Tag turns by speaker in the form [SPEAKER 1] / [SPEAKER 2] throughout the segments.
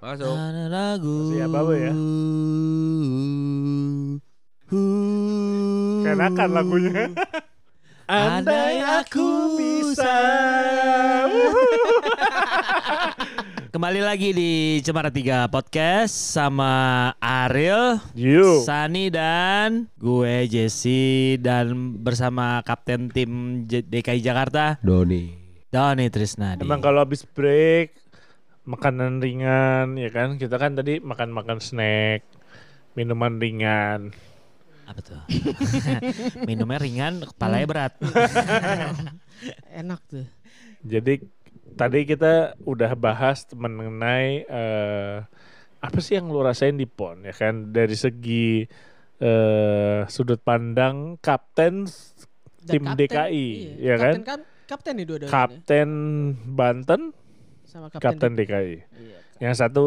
[SPEAKER 1] Masuk.
[SPEAKER 2] lagu.
[SPEAKER 3] Masih apa, Bu, ya? Kenakan lagunya.
[SPEAKER 2] Andai aku bisa. Kembali lagi di Cemara 3 Podcast sama Ariel,
[SPEAKER 3] You.
[SPEAKER 2] Sani dan gue Jesse dan bersama kapten tim J- DKI Jakarta
[SPEAKER 1] Doni.
[SPEAKER 2] Doni Trisnadi.
[SPEAKER 3] Emang kalau habis break makanan ringan ya kan kita kan tadi makan-makan snack minuman ringan
[SPEAKER 2] apa tuh? Minumnya ringan, kepalanya berat.
[SPEAKER 4] Enak tuh.
[SPEAKER 3] jadi tadi kita udah bahas mengenai eh, apa sih yang lu rasain di pon ya kan dari segi eh, sudut pandang kapten
[SPEAKER 4] Dan
[SPEAKER 3] Tim
[SPEAKER 4] kapten,
[SPEAKER 3] DKI, ya
[SPEAKER 4] iya.
[SPEAKER 3] kan?
[SPEAKER 4] Kapten kan kapten nih dua-duanya.
[SPEAKER 3] kapten Banten
[SPEAKER 4] sama
[SPEAKER 3] kapten DKI
[SPEAKER 4] Iya, Kak.
[SPEAKER 3] Gitu. yang satu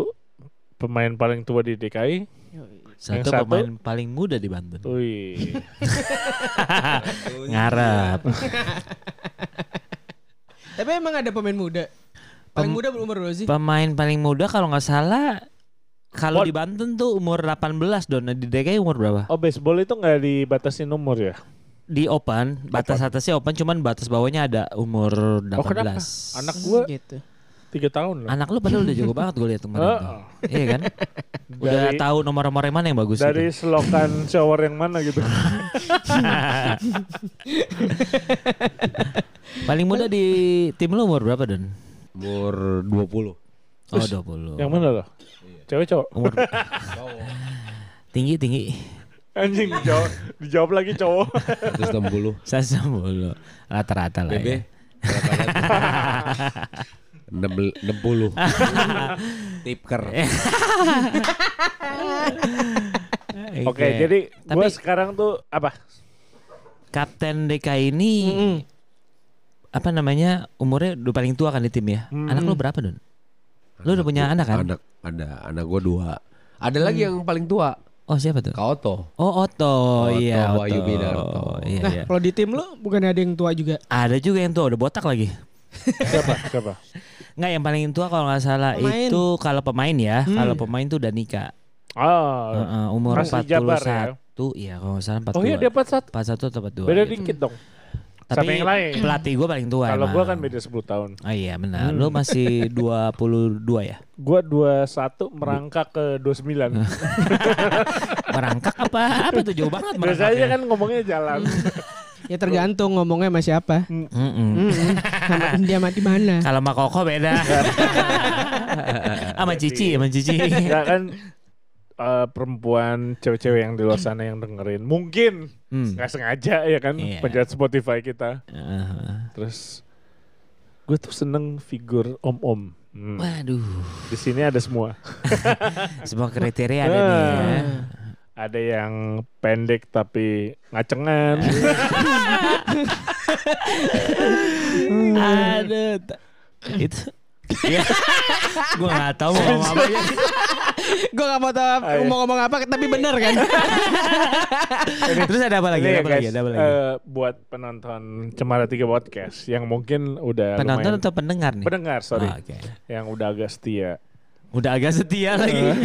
[SPEAKER 3] pemain paling tua di DKI
[SPEAKER 4] Yoi.
[SPEAKER 2] Satu,
[SPEAKER 3] satu- Oh,
[SPEAKER 2] pemain paling muda di Banten.
[SPEAKER 3] Wih. iya.
[SPEAKER 2] Ngarep.
[SPEAKER 4] Tapi emang ada pemain muda. Paling
[SPEAKER 2] Pem-
[SPEAKER 4] muda berumur berapa sih?
[SPEAKER 2] Pemain paling muda kalau nggak salah kalau
[SPEAKER 3] Pon.
[SPEAKER 2] di Banten tuh umur 18 Don. Di DKI umur berapa?
[SPEAKER 3] oh baseball itu nggak dibatasin umur ya
[SPEAKER 2] Di Open, batas atasnya Open cuman batas bawahnya ada umur 18.
[SPEAKER 3] Oh, kenapa? Anak
[SPEAKER 4] Hmm,
[SPEAKER 3] gue
[SPEAKER 4] gitu.
[SPEAKER 3] tiga tahun loh.
[SPEAKER 2] Anak lu padahal udah jago banget gue lihat kemarin. tuh.
[SPEAKER 3] Heeh.
[SPEAKER 2] Iya kan? Udah
[SPEAKER 3] Oh, dari,
[SPEAKER 2] tahu nomor-nomor yang mana yang bagus
[SPEAKER 3] dari
[SPEAKER 2] gitu.
[SPEAKER 3] selokan shower yang mana gitu.
[SPEAKER 2] Paling muda di tim lu umur berapa, Don?
[SPEAKER 1] Umur 20.
[SPEAKER 2] Oh, 20.
[SPEAKER 3] yang mana loh? Cewek cowok.
[SPEAKER 2] Umur tinggi tinggi
[SPEAKER 3] Anjing cowok. Dijawab lagi cowok.
[SPEAKER 1] 160.
[SPEAKER 2] saya mulu rata-rata lah
[SPEAKER 1] BB.
[SPEAKER 2] ya.
[SPEAKER 1] Enam bel- 60. Tipker.
[SPEAKER 3] Oke, jadi gue
[SPEAKER 2] Iya. Tapi-
[SPEAKER 3] sekarang tuh apa?
[SPEAKER 2] Kapten DKI ini apa namanya umurnya udah paling tua kan di tim ya. Anak lu berapa Don? Lu udah punya anak kan?
[SPEAKER 1] Anak ada anak gua dua. Ada lagi yang paling tua,
[SPEAKER 2] Oh siapa tuh?
[SPEAKER 1] Kaoto.
[SPEAKER 2] Oh Otto,
[SPEAKER 1] Otto
[SPEAKER 2] iya
[SPEAKER 1] Bayu Binarto.
[SPEAKER 2] Iya,
[SPEAKER 4] Nah,
[SPEAKER 2] iya.
[SPEAKER 4] kalau di tim lu bukan ada yang tua juga.
[SPEAKER 2] Ada juga yang tua udah botak lagi.
[SPEAKER 3] Siapa? Siapa?
[SPEAKER 2] Nggak yang paling tua kalau nggak salah
[SPEAKER 4] Pemain.
[SPEAKER 2] itu kalau pemain ya, kalau pemain tuh udah nikah.
[SPEAKER 3] Ah.
[SPEAKER 2] Heeh, umur
[SPEAKER 3] Hmm. Masih
[SPEAKER 2] 41
[SPEAKER 3] Jabar ya?
[SPEAKER 2] iya kalau nggak salah 42.
[SPEAKER 3] Oh iya dia empat satu.
[SPEAKER 2] 41 atau 42.
[SPEAKER 3] Beda
[SPEAKER 2] gitu.
[SPEAKER 3] dikit dong.
[SPEAKER 2] Tapi
[SPEAKER 3] Sama yang lain.
[SPEAKER 2] pelatih gue paling tua
[SPEAKER 3] Kalau
[SPEAKER 2] emang.
[SPEAKER 3] gue kan beda 10 tahun.
[SPEAKER 2] Oh iya benar. Lu masih 22 ya?
[SPEAKER 3] Gue 21 merangkak ke 29.
[SPEAKER 2] Merangkak apa? Apa tuh jauh banget
[SPEAKER 3] Biasanya
[SPEAKER 2] merangkaknya.
[SPEAKER 3] kan ngomongnya jalan.
[SPEAKER 4] Ya tergantung ngomongnya sama siapa.
[SPEAKER 2] Mm-mm.
[SPEAKER 3] Mm.
[SPEAKER 4] Mm-mm. sama dia mati mana.
[SPEAKER 2] Kalau sama Koko beda. sama Cici, sama Cici.
[SPEAKER 3] ya kan eh, perempuan cewek-cewek yang di luar sana yang dengerin mungkin
[SPEAKER 2] Hmm.
[SPEAKER 3] nggak sengaja ya kan
[SPEAKER 2] Iya.
[SPEAKER 3] pencet Spotify kita
[SPEAKER 2] Uh,
[SPEAKER 3] Terus gue tuh seneng figur om-om. Hmm.
[SPEAKER 2] Waduh,
[SPEAKER 3] Di sini ada semua.
[SPEAKER 2] semua kriteria ada nih ya.
[SPEAKER 3] Ada yang pendek tapi ngacengan.
[SPEAKER 2] Iya. Aduh, ta- itu. Ya. gue nggak tahu mau ngomong Oh, apa aja.
[SPEAKER 3] Iya,
[SPEAKER 4] Gue gak mau tahu
[SPEAKER 3] Ah, iya.
[SPEAKER 4] mau ngomong apa tapi bener kan.
[SPEAKER 2] Iya. Terus ada apa lagi?
[SPEAKER 3] Ini
[SPEAKER 2] Ada
[SPEAKER 3] ya,
[SPEAKER 2] apa lagi?
[SPEAKER 3] guys,
[SPEAKER 2] Ada apa lagi?
[SPEAKER 3] eh, buat penonton Cemara 3 Podcast yang mungkin udah
[SPEAKER 2] Penonton
[SPEAKER 3] lumayan
[SPEAKER 2] atau pendengar nih?
[SPEAKER 3] pendengar, sorry.
[SPEAKER 2] Ah, oke.
[SPEAKER 3] Yang udah agak setia.
[SPEAKER 2] Udah agak setia lagi.
[SPEAKER 3] Eh.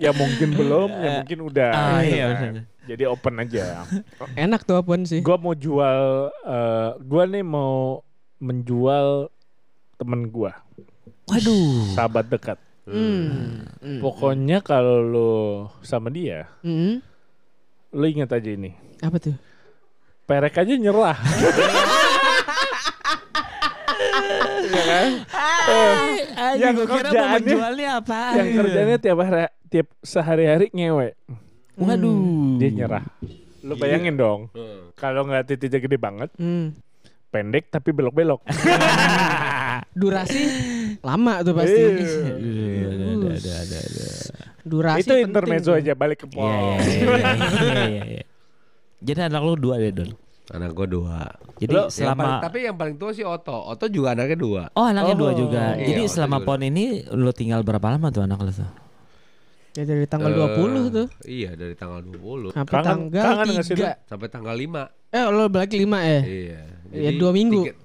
[SPEAKER 3] ya mungkin belum, ya mungkin udah.
[SPEAKER 2] Ah,
[SPEAKER 3] gitu
[SPEAKER 2] iya,
[SPEAKER 3] kan.
[SPEAKER 2] bener.
[SPEAKER 3] Jadi open aja.
[SPEAKER 4] Enak tuh apun sih.
[SPEAKER 3] gue mau jual, eh, gue nih mau menjual temen gue,
[SPEAKER 2] Waduh.
[SPEAKER 3] sahabat dekat.
[SPEAKER 4] Hmm. Hmm.
[SPEAKER 3] Pokoknya kalau lo sama dia,
[SPEAKER 4] Hmm.
[SPEAKER 3] lo ingat aja ini.
[SPEAKER 4] Apa tuh?
[SPEAKER 3] Perek aja nyerah. Iya kan? Eh,
[SPEAKER 2] yang
[SPEAKER 3] Yang
[SPEAKER 2] gue kira mau
[SPEAKER 3] kerjaannya-
[SPEAKER 2] menjualnya apa?
[SPEAKER 3] yang kerjanya tiap hari, tiap sehari-hari ngewe,
[SPEAKER 2] Waduh.
[SPEAKER 3] dia nyerah. Lo bayangin dong, kalau nggak titiknya gede banget,
[SPEAKER 4] Hmm.
[SPEAKER 3] pendek tapi belok-belok.
[SPEAKER 4] Durasi lama tuh pasti.
[SPEAKER 3] Iya.
[SPEAKER 2] Iya, ada, ada, ada, ada, ada.
[SPEAKER 4] Durasi
[SPEAKER 3] Itu
[SPEAKER 4] penting
[SPEAKER 3] intermezzo
[SPEAKER 4] tuh.
[SPEAKER 3] aja balik ke pol.
[SPEAKER 2] Iya, iya, iya, iya, iya, iya. Jadi anak lu dua deh Don.
[SPEAKER 1] Anak gua dua.
[SPEAKER 2] Jadi
[SPEAKER 1] Lo- yang paling-
[SPEAKER 2] selama
[SPEAKER 1] tapi yang paling tua sih Oto. Oto juga anaknya dua.
[SPEAKER 2] Oh anaknya dua
[SPEAKER 3] Oh,
[SPEAKER 2] juga.
[SPEAKER 1] iya,
[SPEAKER 2] Jadi
[SPEAKER 1] waktu
[SPEAKER 2] selama
[SPEAKER 1] juga.
[SPEAKER 2] pon ini lu tinggal berapa lama tuh anak lu tuh?
[SPEAKER 4] Ya dari tanggal
[SPEAKER 1] Eh,
[SPEAKER 4] 20 tuh.
[SPEAKER 1] Iya, dari tanggal 20
[SPEAKER 4] Sampai
[SPEAKER 3] Kangen-
[SPEAKER 4] tanggal
[SPEAKER 3] kangen nggak sih lu?
[SPEAKER 4] 3.
[SPEAKER 1] sampai tanggal 5.
[SPEAKER 4] Eh lo balik 5 eh.
[SPEAKER 1] Iya.
[SPEAKER 4] Iya, dua minggu.
[SPEAKER 1] tiga-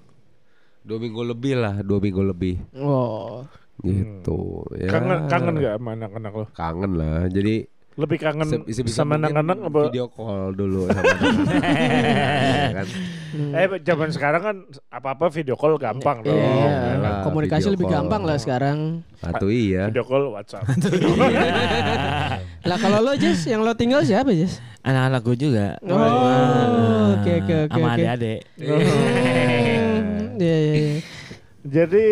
[SPEAKER 1] dua minggu lebih lah, dua minggu lebih.
[SPEAKER 4] Oh.
[SPEAKER 1] gitu ya
[SPEAKER 3] Kangen kangen nggak sama anak-anak lo?
[SPEAKER 1] kangen lah jadi
[SPEAKER 3] Lebih kangen
[SPEAKER 1] se- sebisa
[SPEAKER 3] sama
[SPEAKER 1] mungkin
[SPEAKER 3] anak-anak Kan apa?
[SPEAKER 1] video call dulu sama anak-anak. Iya kan?
[SPEAKER 3] Eh zaman sekarang kan apa-apa video call gampang dong.
[SPEAKER 4] Hmm. Iya,
[SPEAKER 1] iya lah,
[SPEAKER 4] komunikasi
[SPEAKER 1] video
[SPEAKER 4] lebih
[SPEAKER 1] call.
[SPEAKER 4] gampang lah sekarang.
[SPEAKER 1] satu iya
[SPEAKER 3] Video call WhatsApp.
[SPEAKER 4] Lah kalau lo Jess, yang lo tinggal siapa Jess?
[SPEAKER 2] Anak-anak gue juga.
[SPEAKER 4] Oh, oke, oke, oke,
[SPEAKER 2] Sama
[SPEAKER 4] oke.
[SPEAKER 2] adik-adik.
[SPEAKER 4] Hmm, Iya iya iya.
[SPEAKER 3] Jadi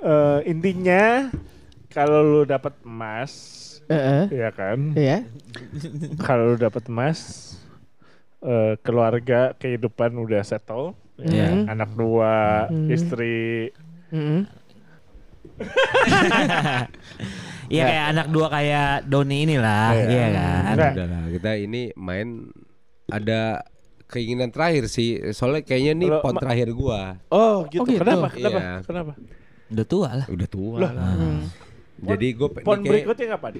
[SPEAKER 3] eh, intinya kalau lu dapat emas,
[SPEAKER 4] Heeh.
[SPEAKER 3] ya kan?
[SPEAKER 4] Iya.
[SPEAKER 3] Kalau lu dapat emas, eh, keluarga kehidupan udah settle.
[SPEAKER 2] Iya.
[SPEAKER 3] ya. Anak dua,
[SPEAKER 4] Hmm.
[SPEAKER 3] istri.
[SPEAKER 4] Mm-mm.
[SPEAKER 2] Iya kayak anak dua kayak Doni inilah,
[SPEAKER 3] Iya.
[SPEAKER 2] iya kan.
[SPEAKER 3] Nah.
[SPEAKER 1] udah lah kita ini main ada keinginan terakhir sih soalnya kayaknya nih
[SPEAKER 3] Kalau
[SPEAKER 1] pot
[SPEAKER 3] ma-
[SPEAKER 1] terakhir gua
[SPEAKER 3] Oh
[SPEAKER 4] gitu.
[SPEAKER 3] Kenapa?
[SPEAKER 1] Iya.
[SPEAKER 3] Kenapa? Kenapa?
[SPEAKER 2] Udah tua lah.
[SPEAKER 1] udah tua lah jadi gue
[SPEAKER 3] hmm. Pon berikutnya kapan?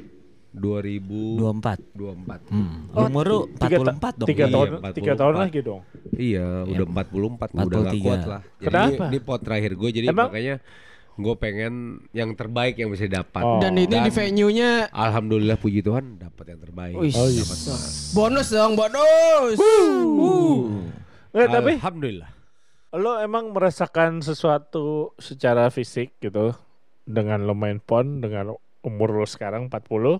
[SPEAKER 1] 2024
[SPEAKER 2] 24.
[SPEAKER 1] 24
[SPEAKER 2] Hmm. Umur lu
[SPEAKER 3] Tiga ta-
[SPEAKER 2] 44 dong.
[SPEAKER 3] Tiga
[SPEAKER 1] Iya,
[SPEAKER 3] tahun, tiga
[SPEAKER 1] 44.
[SPEAKER 3] tahun lagi dong.
[SPEAKER 1] Iya, udah 44 gua udah gak
[SPEAKER 2] 43.
[SPEAKER 1] kuat lah. Jadi
[SPEAKER 3] Kenapa?
[SPEAKER 1] Ini, ini pot terakhir gue jadi
[SPEAKER 3] Emang-
[SPEAKER 1] makanya gue pengen yang terbaik yang bisa dapat.
[SPEAKER 3] Oh.
[SPEAKER 4] Dan ini di venue-nya
[SPEAKER 1] Alhamdulillah puji Tuhan dapat yang terbaik.
[SPEAKER 4] Wih.
[SPEAKER 3] Oh,
[SPEAKER 1] Dapat
[SPEAKER 4] iya.
[SPEAKER 1] emas.
[SPEAKER 4] bonus dong, bonus. Eh,
[SPEAKER 3] Nggak, Eh, tapi
[SPEAKER 1] Alhamdulillah.
[SPEAKER 3] lo emang merasakan sesuatu secara fisik gitu dengan lo main pon dengan umur lo sekarang 40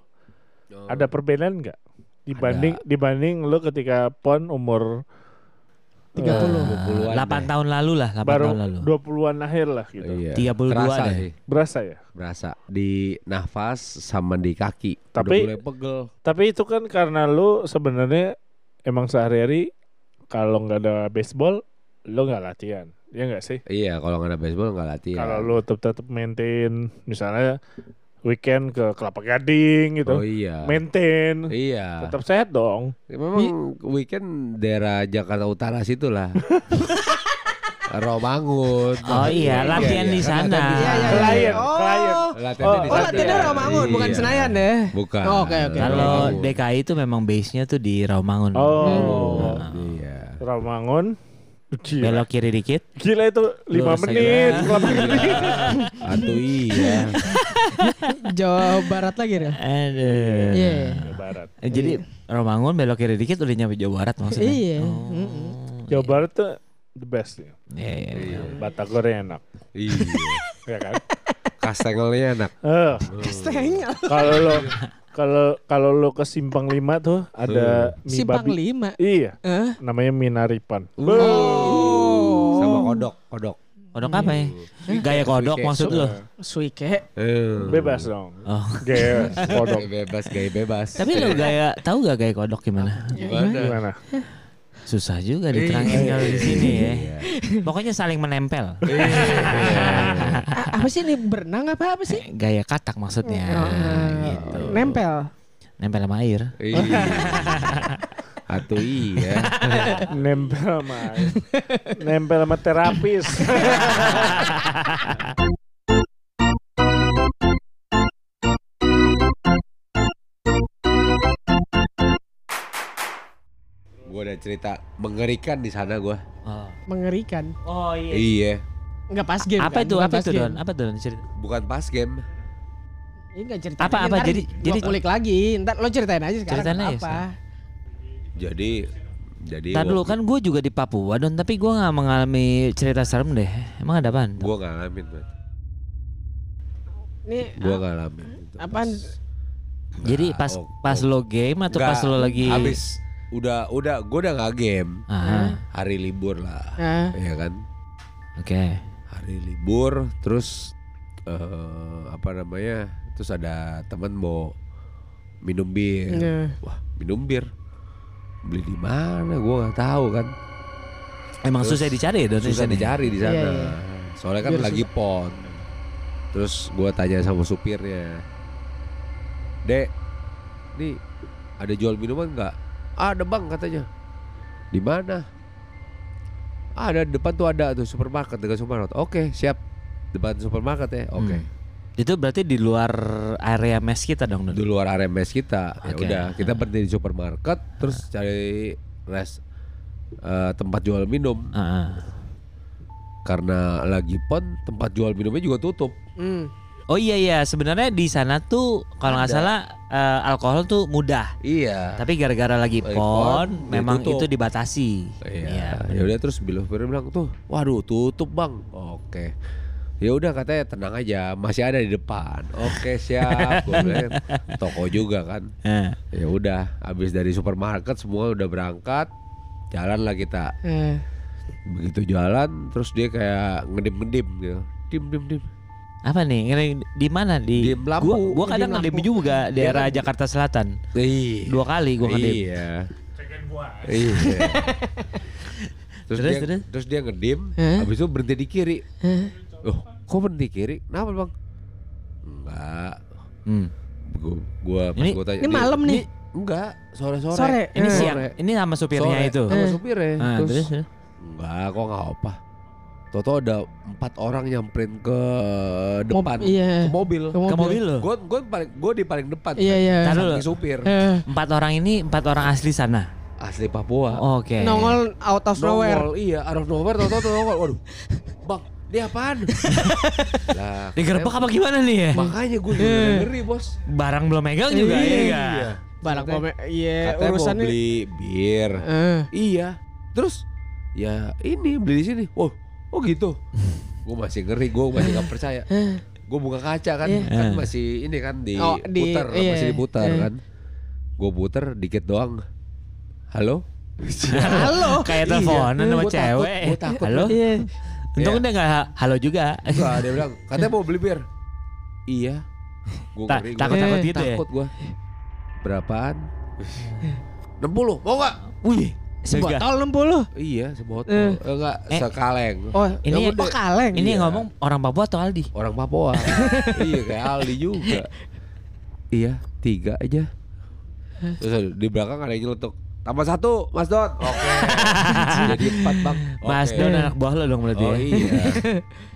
[SPEAKER 3] ada perbedaan nggak dibanding dibanding lo ketika pon umur
[SPEAKER 2] 8
[SPEAKER 4] 30.
[SPEAKER 1] 20-an deh.
[SPEAKER 2] Iya. tahun lalu lah, 8
[SPEAKER 3] baru
[SPEAKER 2] tahun lalu.
[SPEAKER 3] 20-an akhir lah gitu.
[SPEAKER 1] Iya.
[SPEAKER 2] 32
[SPEAKER 1] Berasa
[SPEAKER 2] deh.
[SPEAKER 1] sih,
[SPEAKER 3] Berasa ya.
[SPEAKER 1] berasa di nafas sama di kaki.
[SPEAKER 3] Tapi-
[SPEAKER 1] udah mulai pegel.
[SPEAKER 3] Tapi itu kan karena lo sebenarnya emang sehari-hari kalau nggak ada baseball lo nggak latihan. Ya nggak sih?
[SPEAKER 1] Iya, kalau nggak ada baseball nggak latihan.
[SPEAKER 3] Kalau lo tetap maintain misalnya weekend ke Kelapa Gading gitu.
[SPEAKER 1] Oh iya.
[SPEAKER 3] Maintain.
[SPEAKER 1] Iya.
[SPEAKER 3] Tetap sehat dong.
[SPEAKER 1] Ya, Memang weekend daerah Jakarta Utara situ lah. Romangun.
[SPEAKER 2] Oh iya, latihan di
[SPEAKER 1] kan,
[SPEAKER 2] sana.
[SPEAKER 1] latihan
[SPEAKER 4] Iya,
[SPEAKER 1] di sana.
[SPEAKER 4] iya, iya.
[SPEAKER 3] Klien,
[SPEAKER 4] Oh.
[SPEAKER 3] klien.
[SPEAKER 1] Latihannya
[SPEAKER 3] Oh,
[SPEAKER 4] Oh,
[SPEAKER 1] di sana.
[SPEAKER 4] latihannya
[SPEAKER 1] Iya.
[SPEAKER 4] Rawamangun, bukan
[SPEAKER 1] Iya.
[SPEAKER 4] Senayan deh.
[SPEAKER 1] Bukan.
[SPEAKER 4] Oh, oke, oke.
[SPEAKER 2] Kalau
[SPEAKER 1] Rawamangun.
[SPEAKER 2] DKI itu memang base-nya tuh di Rawamangun.
[SPEAKER 3] Oh.
[SPEAKER 1] Iya.
[SPEAKER 3] Ramangun. Gila.
[SPEAKER 2] Belok kiri dikit.
[SPEAKER 3] Gila itu 5
[SPEAKER 2] Lurus
[SPEAKER 3] menit.
[SPEAKER 2] aja.
[SPEAKER 3] Kelapa Gading.
[SPEAKER 1] Atuh iya.
[SPEAKER 4] Jawa Barat lagi
[SPEAKER 2] Iya.
[SPEAKER 4] ya.
[SPEAKER 2] Aduh.
[SPEAKER 4] Iya.
[SPEAKER 3] Jawa Barat.
[SPEAKER 2] Eh, Jadi Romangun belok kiri dikit udah nyampe Jawa Barat maksudnya.
[SPEAKER 4] Iya.
[SPEAKER 2] Oh,
[SPEAKER 4] Mm-mm.
[SPEAKER 3] Jawa Barat tuh the best nih.
[SPEAKER 2] Iya, iya, iya.
[SPEAKER 3] Batagornya enak,
[SPEAKER 1] Iya.
[SPEAKER 3] ya kan?
[SPEAKER 1] Kastengelnya enak.
[SPEAKER 3] Eh,
[SPEAKER 4] Kastengel.
[SPEAKER 3] kalau lo kalau kalau lo ke Simpang 5 tuh ada mie
[SPEAKER 4] Simpang
[SPEAKER 3] babi.
[SPEAKER 4] lima.
[SPEAKER 3] Iya,
[SPEAKER 4] Eh,
[SPEAKER 3] namanya Minaripan.
[SPEAKER 1] Oh.
[SPEAKER 2] Uh. Oh.
[SPEAKER 1] Sama kodok, kodok.
[SPEAKER 2] Kodok apa ya? Gaya kodok
[SPEAKER 1] Iya. Suike.
[SPEAKER 2] maksud lo?
[SPEAKER 4] Suike.
[SPEAKER 1] Eh.
[SPEAKER 3] Bebas dong.
[SPEAKER 2] Oh.
[SPEAKER 3] Gaya
[SPEAKER 1] Kodok
[SPEAKER 3] kodok
[SPEAKER 1] bebas, gay bebas.
[SPEAKER 2] Tapi lo gaya tahu gak gaya kodok gimana?
[SPEAKER 1] gimana?
[SPEAKER 3] gimana?
[SPEAKER 2] Susah
[SPEAKER 1] Iya,
[SPEAKER 2] juga diterangin kalau di sini ya. Pokoknya saling menempel.
[SPEAKER 4] A- apa sih ini berenang apa apa sih?
[SPEAKER 2] Gaya katak maksudnya.
[SPEAKER 1] Oh,
[SPEAKER 2] gitu.
[SPEAKER 4] Nah, Nempel.
[SPEAKER 2] Nempel sama air.
[SPEAKER 1] Iya. Atuh iya.
[SPEAKER 3] Nempel sama nempel sama terapis.
[SPEAKER 1] Gue ada cerita mengerikan di sana gue.
[SPEAKER 2] Oh.
[SPEAKER 4] Mengerikan.
[SPEAKER 2] Oh iya.
[SPEAKER 1] Iya.
[SPEAKER 4] Enggak pas game.
[SPEAKER 2] Apa
[SPEAKER 4] kan?
[SPEAKER 2] itu?
[SPEAKER 4] Bukan
[SPEAKER 2] Apa
[SPEAKER 4] pas
[SPEAKER 2] itu
[SPEAKER 4] game.
[SPEAKER 2] Don? Apa Don? Cerita.
[SPEAKER 1] Bukan pas game.
[SPEAKER 4] Ini enggak cerita.
[SPEAKER 2] Apa- apa? Jadi- jadi-
[SPEAKER 4] kulik lagi. Ntar lo ceritain aja sekarang.
[SPEAKER 2] Ceritain aja,
[SPEAKER 4] apa?
[SPEAKER 1] Jadi jadi
[SPEAKER 2] Ntar dulu
[SPEAKER 1] waktu-
[SPEAKER 2] kan gue juga di Papua Don, tapi gue nggak mengalami cerita serem deh. Emang ada apaan?
[SPEAKER 1] gua ngalamin, Bro.
[SPEAKER 4] Ini
[SPEAKER 1] Gua ngalamin. Itu
[SPEAKER 4] apaan?
[SPEAKER 1] pas-
[SPEAKER 2] Jadi pas
[SPEAKER 1] oh,
[SPEAKER 2] pas
[SPEAKER 1] oh.
[SPEAKER 2] lo game atau pas
[SPEAKER 1] Nggak,
[SPEAKER 2] lo lagi
[SPEAKER 1] habis udah udah gua udah nggak game.
[SPEAKER 2] Ah,
[SPEAKER 1] Hari libur lah.
[SPEAKER 4] Ah.
[SPEAKER 1] Ya kan?
[SPEAKER 2] oke.
[SPEAKER 1] Hari libur terus eh, apa namanya? Terus ada teman mau minum bir.
[SPEAKER 4] Iya.
[SPEAKER 1] Wah, minum bir. Beli di mana gua nggak tahu kan.
[SPEAKER 2] Emang
[SPEAKER 1] Terus
[SPEAKER 2] susah dicari ya Don?
[SPEAKER 1] susah
[SPEAKER 2] di sana?
[SPEAKER 1] dicari di sana.
[SPEAKER 4] Iya, iya.
[SPEAKER 1] Soalnya kan
[SPEAKER 4] Biar
[SPEAKER 1] lagi pon. Terus gua tanya sama supirnya. Dek, nih ada jual minuman nggak? Ada bang katanya. Di mana? "Ah, Ada depan tuh ada tuh supermarket dekat supermarket. Oke siap. Depan supermarket ya. Oke.
[SPEAKER 2] Hmm. Itu berarti di luar area mes kita dong Don.
[SPEAKER 1] Di luar area mes kita. Ya
[SPEAKER 2] Oke.
[SPEAKER 1] udah kita berhenti di supermarket. Terus cari res eh, tempat jual minum.
[SPEAKER 2] Ah, ah.
[SPEAKER 1] karena lagi pon tempat jual minumnya juga tutup
[SPEAKER 4] Hmm.
[SPEAKER 2] Oh iya iya, sebenarnya di sana tuh kalau nggak
[SPEAKER 1] Ada.
[SPEAKER 2] salah eh, alkohol tuh mudah.
[SPEAKER 1] Iya.
[SPEAKER 2] Tapi gara-gara lagi
[SPEAKER 1] Lagi
[SPEAKER 2] pon,
[SPEAKER 1] pon,
[SPEAKER 2] memang
[SPEAKER 1] ditutup.
[SPEAKER 2] itu dibatasi.
[SPEAKER 1] Iya. Ya udah terus Bill Firman bilang tuh, waduh tutup bang. Oke. Ya udah katanya tenang aja, masih ada di depan. Oke siap. Gua bilang, "Iya, Toko juga kan.
[SPEAKER 2] Eh,
[SPEAKER 1] Ya udah, habis dari supermarket semua udah berangkat. Jalan lah kita.
[SPEAKER 4] Eh,
[SPEAKER 1] Begitu jalan, terus dia kayak ngedip-ngedip gitu. Dim dim dim.
[SPEAKER 2] apa nih? Ngeri- Di mana di?
[SPEAKER 1] Di
[SPEAKER 2] Gua,
[SPEAKER 1] Lampung.
[SPEAKER 2] gua
[SPEAKER 1] Di
[SPEAKER 2] kadang ngedip juga daerah Jakarta Selatan.
[SPEAKER 1] Ih.
[SPEAKER 2] Iya. Dua kali gua ngedip.
[SPEAKER 1] Iya.
[SPEAKER 3] Cekin gua.
[SPEAKER 1] Iya. terus,
[SPEAKER 2] Terus,
[SPEAKER 1] dia,
[SPEAKER 2] terus?
[SPEAKER 1] terus. dia ngedim,
[SPEAKER 4] Hah?
[SPEAKER 1] habis itu berhenti di kiri.
[SPEAKER 4] eh.
[SPEAKER 1] Loh, kok berhenti kiri? Kenapa bang? Enggak.
[SPEAKER 2] Hmm.
[SPEAKER 1] Gua, gua pas
[SPEAKER 2] Ini-
[SPEAKER 1] gua tanya.
[SPEAKER 4] ini
[SPEAKER 1] dia,
[SPEAKER 4] malam nih?
[SPEAKER 1] "Ini enggak, sore-sore.
[SPEAKER 4] Sore.
[SPEAKER 2] Ini
[SPEAKER 4] Eh.
[SPEAKER 2] siang,
[SPEAKER 1] Iya. Sore.
[SPEAKER 2] ini sama supirnya
[SPEAKER 1] Sore,
[SPEAKER 2] itu.
[SPEAKER 1] Sama
[SPEAKER 4] Eh.
[SPEAKER 1] supirnya.
[SPEAKER 2] Ah,
[SPEAKER 1] terus,
[SPEAKER 2] terus, terus.
[SPEAKER 1] enggak, kok enggak apa. Toto ada empat orang nyamperin ke
[SPEAKER 4] Mob-
[SPEAKER 1] depan
[SPEAKER 4] iya.
[SPEAKER 1] ke mobil.
[SPEAKER 4] Ke mobil.
[SPEAKER 2] ke mobil lo.
[SPEAKER 1] Gue gue paling gue di paling depan.
[SPEAKER 4] Iya iya.
[SPEAKER 2] Tar dulu.
[SPEAKER 1] Samping supir
[SPEAKER 4] Eh,
[SPEAKER 2] Empat orang ini empat orang asli sana.
[SPEAKER 1] asli Papua.
[SPEAKER 2] Oke.
[SPEAKER 4] nongol Oh, out of nowhere.
[SPEAKER 1] Nongol, iya, out of nowhere tau-tau tuh nongol. Waduh. Bang, ini apaan? lah,
[SPEAKER 2] Digerebek apa gimana nih ya?
[SPEAKER 1] Makanya gue juga
[SPEAKER 4] Eh.
[SPEAKER 1] ngeri, Bos.
[SPEAKER 2] Barang belum megang juga
[SPEAKER 1] Iya.
[SPEAKER 2] ya. nggak?
[SPEAKER 4] Barang
[SPEAKER 1] Katanya-
[SPEAKER 4] pome. Iya,
[SPEAKER 1] Katanya mau
[SPEAKER 4] urusannya.
[SPEAKER 1] beli bir.
[SPEAKER 4] Eh,
[SPEAKER 1] Iya. Terus ya ini beli di sini. Oh, oh gitu. gue masih ngeri, gue masih gak percaya.
[SPEAKER 4] eh.
[SPEAKER 1] Gue buka kaca kan,
[SPEAKER 4] Iya.
[SPEAKER 1] kan masih ini kan diputar,
[SPEAKER 4] Oh, di- iya.
[SPEAKER 1] masih diputar
[SPEAKER 4] Eh.
[SPEAKER 1] kan. Gue puter dikit doang. Halo?
[SPEAKER 4] Halo.
[SPEAKER 2] Oh, Kayak teleponan sama
[SPEAKER 1] Iya. Gua takut,
[SPEAKER 2] cewek.
[SPEAKER 1] gua takut.
[SPEAKER 2] Halo.
[SPEAKER 4] Iya.
[SPEAKER 2] Untung
[SPEAKER 1] Iya.
[SPEAKER 2] dia nggak ha- halo juga.
[SPEAKER 1] Enggak, dia bilang, katanya mau beli bir. Iya. Gua
[SPEAKER 2] Ta-
[SPEAKER 1] ngeri, gua
[SPEAKER 2] takut takut
[SPEAKER 4] Eh,
[SPEAKER 2] gitu ya.
[SPEAKER 1] takut gua. Berapaan? 60, mau gak?
[SPEAKER 2] Wih, sebuah
[SPEAKER 4] Sebotol 60.
[SPEAKER 1] Iya, sebotol.
[SPEAKER 4] Eh.
[SPEAKER 1] Eh, enggak,
[SPEAKER 2] Eh.
[SPEAKER 1] sekaleng.
[SPEAKER 4] Oh,
[SPEAKER 2] Ini-
[SPEAKER 4] ini oh, kaleng.
[SPEAKER 2] Ini yang
[SPEAKER 1] Iya.
[SPEAKER 2] ngomong orang Papua atau Aldi?
[SPEAKER 1] Orang Papua. iya, kayak Aldi juga. iya, tiga aja. Terus ada- di belakang ada yang nyeletuk. Tambah satu, Mas Don. Oke. Jadi empat bang. Oke.
[SPEAKER 2] Mas Don anak buah lo dong berarti ya.
[SPEAKER 1] Oh iya.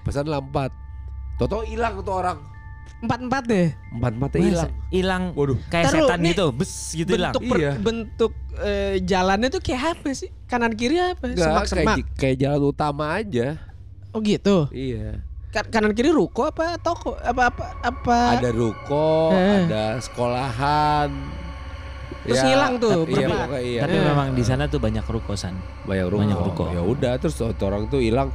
[SPEAKER 1] Pesan lah empat. Toto hilang tuh orang.
[SPEAKER 4] empat-empat deh.
[SPEAKER 1] Empat empatnya
[SPEAKER 2] Mas,
[SPEAKER 1] hilang.
[SPEAKER 2] Hilang
[SPEAKER 1] Waduh.
[SPEAKER 2] kayak
[SPEAKER 4] Taruh,
[SPEAKER 2] setan
[SPEAKER 4] nih.
[SPEAKER 2] gitu, bes gitu hilang.
[SPEAKER 4] bentuk per-
[SPEAKER 1] Iya.
[SPEAKER 4] bentuk eh, jalannya tuh kayak apa sih? Kanan kiri apa?
[SPEAKER 1] Enggak, kayak,
[SPEAKER 4] Semak-semak.
[SPEAKER 1] j- kayak jalan utama aja.
[SPEAKER 4] Oh gitu.
[SPEAKER 1] Iya.
[SPEAKER 4] Ka- kanan kiri ruko apa toko apa apa apa?
[SPEAKER 1] Ada ruko,
[SPEAKER 4] Eh.
[SPEAKER 1] ada sekolahan.
[SPEAKER 4] Terus ngilang tuh,
[SPEAKER 1] Iya,
[SPEAKER 4] berempat.
[SPEAKER 1] pokoknya iya.
[SPEAKER 2] Tapi
[SPEAKER 4] Iya.
[SPEAKER 2] memang di sana tuh banyak rukosan.
[SPEAKER 1] banyak ruko.
[SPEAKER 2] banyak ruko.
[SPEAKER 1] Ya udah, terus satu orang tuh hilang.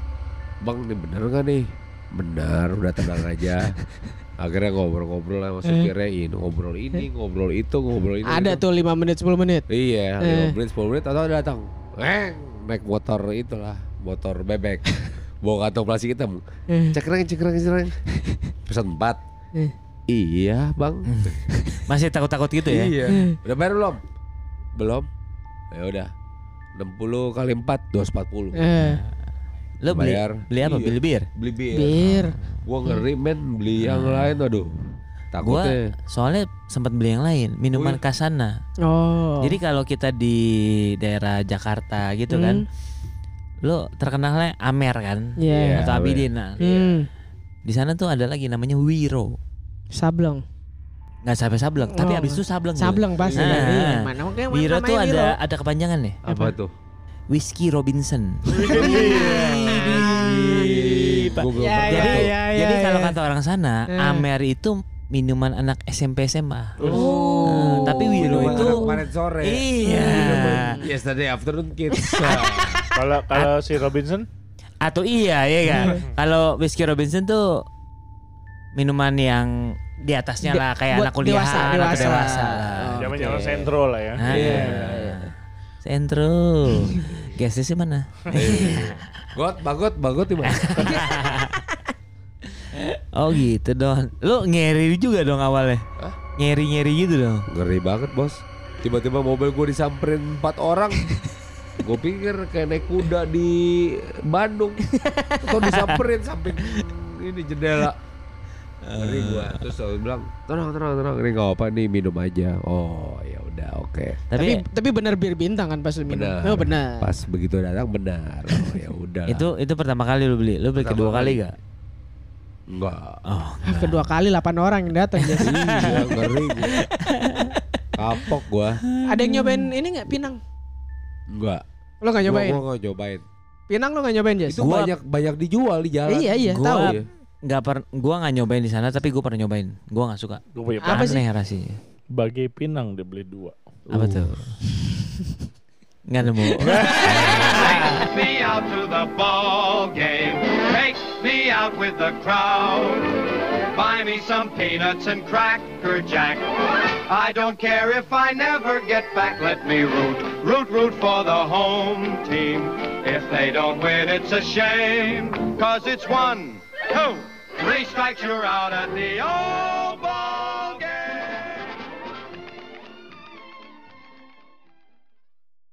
[SPEAKER 1] Bang, ini bener gak nih? Bener, udah tenang aja. Akhirnya ngobrol-ngobrol sama supirnya ini, ngobrol ini, ngobrol itu, ngobrol ini.
[SPEAKER 4] Ada
[SPEAKER 1] itu.
[SPEAKER 4] tuh 5 menit 10 menit.
[SPEAKER 1] Iya,
[SPEAKER 4] Eh.
[SPEAKER 1] 5 menit, 10 menit atau ada datang. Eng, naik motor itulah, motor bebek. Bawa kantong plastik hitam.
[SPEAKER 4] Eh.
[SPEAKER 1] Cekreng, cekreng, cekreng. Pesan 4.
[SPEAKER 4] Eh.
[SPEAKER 1] Iya bang
[SPEAKER 2] Masih takut-takut gitu ya.
[SPEAKER 1] Iya
[SPEAKER 4] Eh.
[SPEAKER 1] Udah bayar belum? Belum Ya udah 60 kali 4 240
[SPEAKER 4] Eh.
[SPEAKER 2] Lo beli
[SPEAKER 1] Bayar.
[SPEAKER 2] beli apa?
[SPEAKER 1] Iya.
[SPEAKER 2] Beli bir.
[SPEAKER 1] Beli bir
[SPEAKER 4] Bir.
[SPEAKER 1] Gua ngeri men Beli yang
[SPEAKER 2] Hmm.
[SPEAKER 1] lain Aduh
[SPEAKER 2] Gua
[SPEAKER 1] Takutnya
[SPEAKER 2] soalnya sempat beli yang lain, minuman
[SPEAKER 1] Oh iya.
[SPEAKER 2] kasana.
[SPEAKER 4] Oh.
[SPEAKER 2] Jadi kalau kita di daerah Jakarta gitu
[SPEAKER 4] Hmm.
[SPEAKER 2] kan, lo terkenalnya Amer kan,
[SPEAKER 4] Iya.
[SPEAKER 2] atau
[SPEAKER 1] Amer.
[SPEAKER 2] Abidin. Nah,
[SPEAKER 4] Hmm.
[SPEAKER 2] Di sana tuh ada lagi namanya Wiro.
[SPEAKER 4] Sableng.
[SPEAKER 2] Nggak sampai sableng, tapi
[SPEAKER 4] Oh.
[SPEAKER 2] abis itu sableng. tuh.
[SPEAKER 4] Sableng pasti.
[SPEAKER 2] Nah.
[SPEAKER 4] Iya, Mana oke
[SPEAKER 2] Wiro tuh ada ada kepanjangan ya,
[SPEAKER 1] Apa tuh?
[SPEAKER 2] Whiskey Robinson.
[SPEAKER 1] Iya.
[SPEAKER 2] Iya,
[SPEAKER 1] Gua belum
[SPEAKER 4] Ya,
[SPEAKER 1] pernah
[SPEAKER 4] ya,
[SPEAKER 1] tuh.
[SPEAKER 4] ya.
[SPEAKER 2] Jadi kalau kata orang sana,
[SPEAKER 4] Eh.
[SPEAKER 2] Amer itu minuman anak SMP SMA.
[SPEAKER 4] Oh.
[SPEAKER 2] Nah, tapi Wiro
[SPEAKER 1] Minuman
[SPEAKER 2] itu
[SPEAKER 1] anak Hmm. kemarin sore
[SPEAKER 2] iya.
[SPEAKER 1] Yesterday afternoon kids
[SPEAKER 3] Kalau kalau si Robinson
[SPEAKER 2] Atau iya ya kan. Kalau whiskey Robinson tuh minuman yang di atasnya
[SPEAKER 4] Di-
[SPEAKER 2] lah kayak
[SPEAKER 4] buat
[SPEAKER 2] anak kuliah
[SPEAKER 4] dewasa,
[SPEAKER 2] anak
[SPEAKER 4] dewasa.
[SPEAKER 2] dewasa lah.
[SPEAKER 1] Oh.
[SPEAKER 3] zaman
[SPEAKER 1] Oke.
[SPEAKER 3] zaman sentro lah ya.
[SPEAKER 2] Ah,
[SPEAKER 1] Iya.
[SPEAKER 2] Sentro. Gasnya sih mana?
[SPEAKER 1] God, bagot, bagot di mana?
[SPEAKER 2] Oh gitu Don. Lu ngeri juga dong awalnya.
[SPEAKER 1] Hah?
[SPEAKER 2] Ngeri-ngeri gitu dong.
[SPEAKER 1] Ngeri banget bos Tiba-tiba mobil gue disamperin empat orang Gue pikir kayak naik kuda di Bandung Atau disamperin samping ini jendela Ngeri gue
[SPEAKER 2] Ah.
[SPEAKER 1] Terus dia bilang Tenang tenang tenang Ini gak apa nih minum aja Oh ya udah oke
[SPEAKER 2] Tapi,
[SPEAKER 4] Tapi tapi benar bir bintang kan pas lu minum.
[SPEAKER 1] Benar
[SPEAKER 4] Oh benar.
[SPEAKER 1] Pas begitu datang benar Oh ya udah
[SPEAKER 2] itu itu pertama kali lu beli. Lu beli
[SPEAKER 1] Pertama
[SPEAKER 2] kedua kali
[SPEAKER 1] kali.
[SPEAKER 2] gak?
[SPEAKER 1] Enggak
[SPEAKER 2] Oh.
[SPEAKER 4] Ah, Kedua kali 8 orang yang datang ya.
[SPEAKER 1] Iya ngeri gue Kapok gue
[SPEAKER 4] Ada yang nyobain ini nggak pinang?
[SPEAKER 1] Enggak
[SPEAKER 4] Lo nggak nyobain?
[SPEAKER 1] Gue gak nyobain
[SPEAKER 4] Pinang lo nggak nyobain Jess?
[SPEAKER 1] Itu banyak banyak dijual di jalan
[SPEAKER 4] Iya, iya,
[SPEAKER 1] Gua-
[SPEAKER 4] tahu.
[SPEAKER 2] nggak per, gua nggak nyobain di sana tapi gua pernah nyobain. Gua nggak suka.
[SPEAKER 3] Gue punya plan.
[SPEAKER 4] Apa sih?
[SPEAKER 2] Aneh rasanya.
[SPEAKER 3] Bagai pinang dia beli dua.
[SPEAKER 2] Apa tuh? Nggak nemu.
[SPEAKER 5] Take me out to the ball game. Take me out with the crowd. Buy me some peanuts and cracker jack. I don't care if I never get back. Let me root, root, root for the home team. If they don't win, it's a shame. Cause it's one, two, three strikes, you're out at the old.